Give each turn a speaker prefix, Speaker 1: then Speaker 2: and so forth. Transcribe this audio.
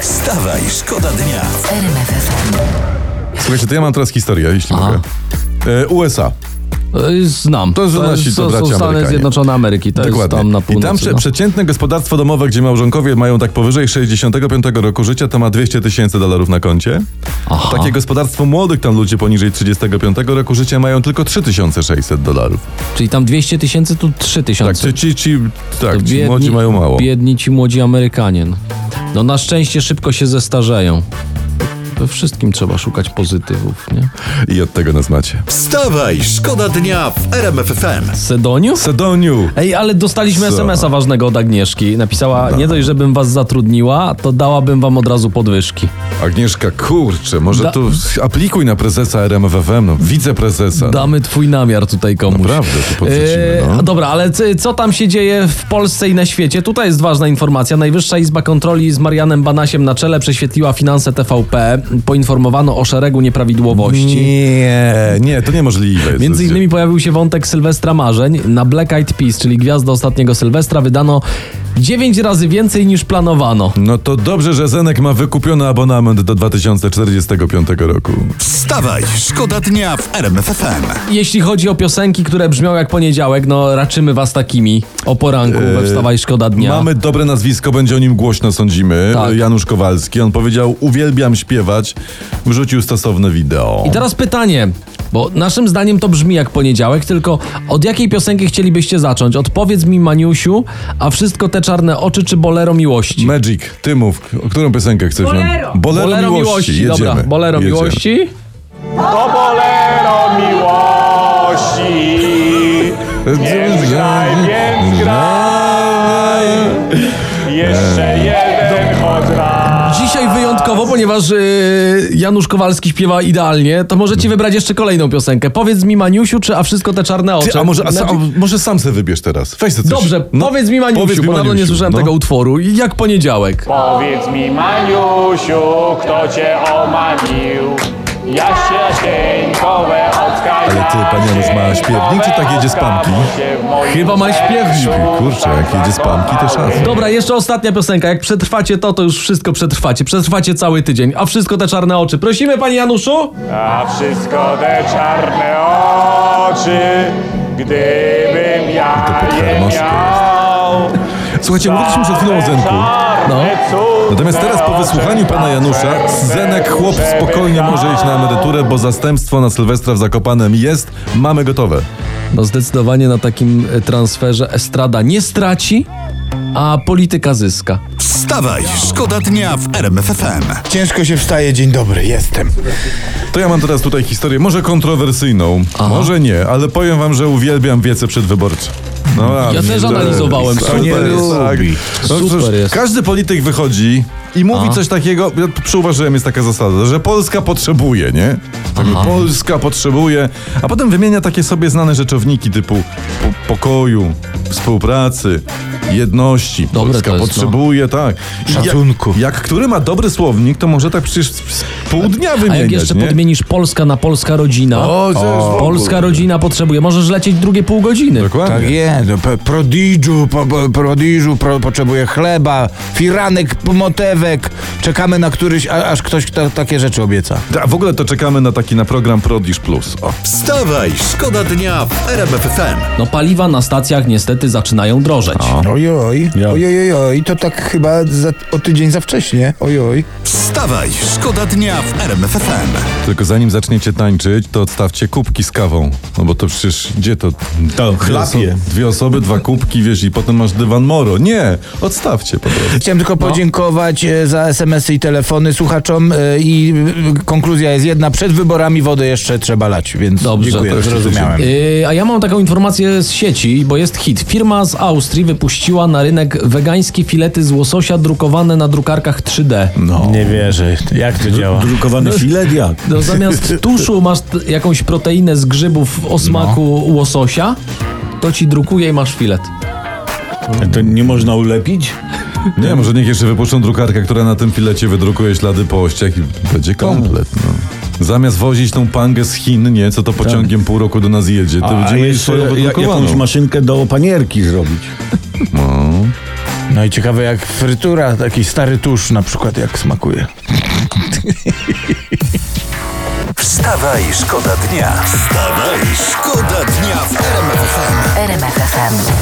Speaker 1: Wstawaj, szkoda dnia.
Speaker 2: RMF FM.
Speaker 3: Słuchajcie, to ja mam teraz historię, jeśli
Speaker 4: Aha.
Speaker 3: mogę. E, USA.
Speaker 4: E, Znam.
Speaker 3: To są nasi
Speaker 4: to są
Speaker 3: bracia
Speaker 4: Stany
Speaker 3: Amerykanie.
Speaker 4: Zjednoczone Ameryki, to jest
Speaker 3: Dokładnie.
Speaker 4: tam na
Speaker 3: I
Speaker 4: północy.
Speaker 3: tam prze,
Speaker 4: no.
Speaker 3: przeciętne gospodarstwo domowe, gdzie małżonkowie mają tak powyżej 65 roku życia, to ma 200 tysięcy dolarów na koncie.
Speaker 4: Aha.
Speaker 3: Takie gospodarstwo młodych tam ludzie poniżej 35 roku życia mają tylko 3600 dolarów.
Speaker 4: Czyli tam 200 tysięcy, tu 3
Speaker 3: Tak,
Speaker 4: tysiące.
Speaker 3: ci, ci, ci, tak,
Speaker 4: To
Speaker 3: ci młodzi mają mało.
Speaker 4: Biedni ci młodzi Amerykanie. no. No na szczęście szybko się zestarzeją. We wszystkim trzeba szukać pozytywów, nie?
Speaker 3: I od tego nas macie.
Speaker 1: Wstawaj, szkoda dnia w RMF FM.
Speaker 4: Sedoniu?
Speaker 3: Sedoniu!
Speaker 4: Ej, ale dostaliśmy
Speaker 3: Co?
Speaker 4: SMS-a ważnego od Agnieszki. Napisała, nie dość, żebym was zatrudniła, to dałabym wam od razu podwyżki.
Speaker 3: Agnieszka, kurczę, może
Speaker 4: Da-
Speaker 3: tu aplikuj na prezesa RMFFM, no, wiceprezesa.
Speaker 4: Damy twój namiar tutaj komuś.
Speaker 3: Naprawdę, to podrzucimy,
Speaker 4: Eee,
Speaker 3: no.
Speaker 4: Dobra, ale c- co tam się dzieje w Polsce i na świecie? Tutaj jest ważna informacja. Najwyższa Izba Kontroli z Marianem Banasiem na czele prześwietliła finanse TVP. Poinformowano o szeregu nieprawidłowości.
Speaker 3: Nie, nie, to niemożliwe. jest.
Speaker 4: Między innymi pojawił się wątek Sylwestra Marzeń. Na Black Eyed Peas, czyli gwiazdę ostatniego Sylwestra, wydano 9 razy więcej niż planowano.
Speaker 3: No to dobrze, że Zenek ma wykupiony abonament do 2045 roku.
Speaker 1: Wstawaj, szkoda dnia w RMF FM.
Speaker 4: Jeśli chodzi o piosenki, które brzmią jak poniedziałek, no raczymy was takimi o poranku we Wstawaj Szkoda Dnia.
Speaker 3: Yy, Mamy dobre nazwisko, będzie o nim głośno sądzimy.
Speaker 4: Tak.
Speaker 3: Janusz Kowalski. On powiedział, uwielbiam śpiewać. Wrzucił stosowne wideo.
Speaker 4: I teraz pytanie, bo naszym zdaniem to brzmi jak poniedziałek, tylko od jakiej piosenki chcielibyście zacząć? Odpowiedz mi Maniusiu, a wszystko te czarne oczy czy Bolero Miłości?
Speaker 3: Magic, ty mów, k- o którą piosenkę chcesz?
Speaker 5: Bolero.
Speaker 3: nam- Bolero, miłości. Jedziemy.
Speaker 4: dobra, Bolero
Speaker 3: Jedziemy.
Speaker 4: Miłości.
Speaker 6: To bolero miłości, Więc graj, więc graj. jeszcze jeden choć raz.
Speaker 4: Dzisiaj wyjątkowo, ponieważ yy, Janusz Kowalski śpiewa idealnie, to możecie wybrać jeszcze kolejną piosenkę. Powiedz mi Maniusiu, czy a wszystko te czarne oczy?
Speaker 3: Ty, a może, a, sa-
Speaker 4: Magic?
Speaker 3: a może sam se wybierz teraz. Weź se coś.
Speaker 4: Dobrze,
Speaker 3: No,
Speaker 4: powiedz mi Maniusiu,
Speaker 3: powiedz mi,
Speaker 4: bo dawno nie
Speaker 3: Maniusiu,
Speaker 4: słyszałem
Speaker 3: no.
Speaker 4: tego utworu. I Jak poniedziałek.
Speaker 6: Powiedz mi, Maniusiu, kto cię omamił? Jaśniasieńkowe oczka,
Speaker 3: Ale ty, panie Janusz, ma śpiewnik, czy tak jedzie z pamki?
Speaker 4: Chyba ma śpiewnik.
Speaker 3: Kurczę, jak jedzie z pamki, to szans.
Speaker 4: Dobra, jeszcze ostatnia piosenka. Jak przetrwacie to, to już wszystko przetrwacie. Przetrwacie cały tydzień, a wszystko te czarne oczy. Prosimy, panie Januszu?
Speaker 6: A wszystko te czarne oczy, gdybym ja
Speaker 3: pod
Speaker 6: je
Speaker 3: harmoszką jest.
Speaker 6: miał.
Speaker 3: Słuchajcie, mówiliśmy przed chwilą o Zenku.
Speaker 4: No.
Speaker 3: Natomiast teraz po wysłuchaniu pana Janusza, Zenek chłop spokojnie może iść na emeryturę, bo zastępstwo na Sylwestra w Zakopanem jest, mamy gotowe.
Speaker 4: No zdecydowanie na takim e, transferze Estrada nie straci, a polityka zyska.
Speaker 1: Wstawaj, szkoda dnia w RMF FM.
Speaker 7: Ciężko się wstaje, dzień dobry, jestem.
Speaker 3: To ja mam teraz tutaj historię, może kontrowersyjną, może nie, ale powiem wam, że uwielbiam wiece przedwyborcze. No, a
Speaker 4: Ja
Speaker 3: mi-
Speaker 4: też
Speaker 3: to-
Speaker 4: analizowałem,
Speaker 3: to
Speaker 4: super
Speaker 3: nie
Speaker 4: jest.
Speaker 3: tak. No,
Speaker 4: Super
Speaker 3: przecież
Speaker 4: jest.
Speaker 3: Każdy polityk wychodzi i mówi coś takiego, ja przyuważyłem, jest taka zasada, że Polska potrzebuje, nie? Tak, Polska potrzebuje, a potem wymienia takie sobie znane rzeczowniki typu po- pokoju, współpracy, jedności.
Speaker 4: Dobre
Speaker 3: Polska
Speaker 4: to jest, no.
Speaker 3: potrzebuje, tak. I
Speaker 7: Szacunku.
Speaker 3: Jak, jak który ma dobry słownik, to może tak przecież z- z pół dnia
Speaker 4: A
Speaker 3: wymieniać,
Speaker 4: jak jeszcze
Speaker 3: nie?
Speaker 4: podmienisz Polska na Polska rodzina,
Speaker 3: O, o,
Speaker 4: Polska rodzina potrzebuje, możesz lecieć drugie pół godziny.
Speaker 3: Dokładnie.
Speaker 7: Tak jest, no, pe- prodiżu, po, po, prodiżu pro, potrzebuje chleba, firanek, p- motewek. Czekamy na któryś, a, aż ktoś ta, takie rzeczy obieca.
Speaker 3: A w ogóle to czekamy na taki na program Prodisz Plus. O.
Speaker 1: Wstawaj, szkoda dnia w RMF FM.
Speaker 4: No paliwa na stacjach niestety zaczynają drożeć.
Speaker 7: Ojoj, ojoj, ojoj, to tak chyba za, o tydzień za wcześnie, ojoj.
Speaker 1: Wstawaj, szkoda dnia w RMF FM.
Speaker 3: Tylko zanim zaczniecie tańczyć, to odstawcie kubki z kawą. No bo to przecież gdzie to? To
Speaker 8: chlapie.
Speaker 3: Dwie osoby, dwa kubki, wiesz, i potem masz dywan moro. Nie, odstawcie po prostu.
Speaker 7: Chciałem tylko
Speaker 8: No.
Speaker 7: podziękować e, za SMS-y i telefony słuchaczom e, i e, konkluzja jest jedna, przed wyborami wodę jeszcze trzeba lać, więc
Speaker 4: Dobrze,
Speaker 3: to
Speaker 7: dziękuję,
Speaker 3: jeszcze
Speaker 7: zrozumiałem.
Speaker 4: Yy, a ja mam taką informację z sieci, bo jest hit. Firma z Austrii wypuściła na rynek wegańskie filety z łososia drukowane na drukarkach 3D.
Speaker 8: Nie wierzę. Jak to działa? Drukowany filet jak?
Speaker 4: No, zamiast tuszu masz t- jakąś proteinę z grzybów o smaku łososia, to ci drukuje i masz filet.
Speaker 8: To nie można ulepić? Tak.
Speaker 3: Nie, może niech jeszcze wypuszczą drukarkę, która na tym filecie wydrukuje ślady po ościach i
Speaker 8: Tak.
Speaker 3: będzie komplet. No. Zamiast wozić tą pangę z Chin, nie, co to pociągiem pół roku do nas jedzie, to
Speaker 8: Tak. A
Speaker 3: będziemy mieli
Speaker 8: jeszcze
Speaker 3: swoją
Speaker 8: jak, jakąś
Speaker 3: wydrukowaną.
Speaker 8: maszynkę do panierki zrobić.
Speaker 7: No i ciekawe jak frytura, taki stary tusz na przykład jak smakuje.
Speaker 1: Wstawaj, szkoda dnia. Wstawaj, szkoda dnia w RMF FM.
Speaker 2: RMFFM.